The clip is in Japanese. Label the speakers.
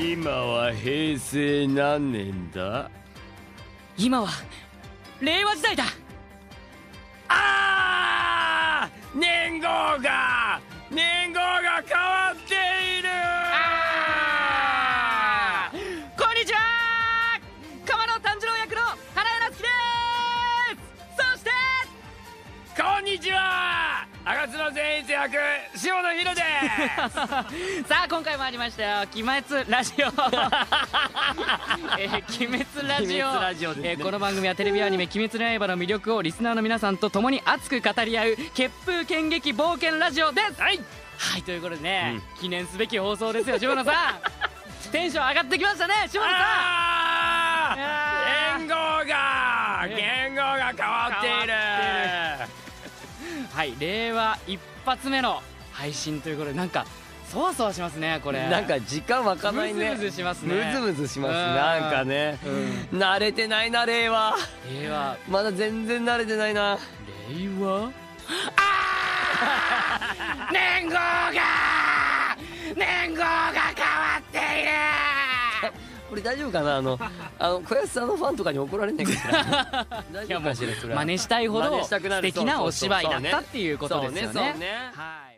Speaker 1: 今は平成何年だ
Speaker 2: 今は令和時代だ
Speaker 1: あー年号が年号が変わっている
Speaker 2: こんにちは鎌野炭治郎役の花江夏樹ですそして
Speaker 1: こんにちは赤津の善逸役塩野博です
Speaker 2: さあ今回もありましたよ「鬼滅ラジ オ」えー鬼滅ラジオ」
Speaker 1: 鬼滅ラジオですね
Speaker 2: えーこの番組はテレビアニメ「鬼滅の刃」の魅力をリスナーの皆さんと共に熱く語り合う「血風剣劇冒険ラジオ」ですはい、ということでね、
Speaker 1: うん
Speaker 2: 記念すべき放送ですよ島 野さんテンション上がってきましたね島野さん
Speaker 1: あー年号が
Speaker 2: ね
Speaker 1: 年号が変わっている
Speaker 2: はい令和一発目の配信ということでなんかそわそわしますねこれ
Speaker 1: なんか時間わかないね
Speaker 2: ムズムズしますね
Speaker 1: ムズムズします
Speaker 2: うん
Speaker 1: なんかね
Speaker 2: うん
Speaker 1: 慣れてないな令和
Speaker 2: 令和
Speaker 1: まだ全然慣れてないな
Speaker 2: 令和
Speaker 1: 年号が年号が変わっている これ大丈夫かなあの あの小安さんのファンとかに怒られ ないかしら大丈夫かしらそれは
Speaker 2: 真似したいほ
Speaker 1: 真
Speaker 2: ど
Speaker 1: 似したく
Speaker 2: 素
Speaker 1: なる
Speaker 2: 敵なお芝居だったっていうことですよね
Speaker 1: そうねそうね
Speaker 2: はい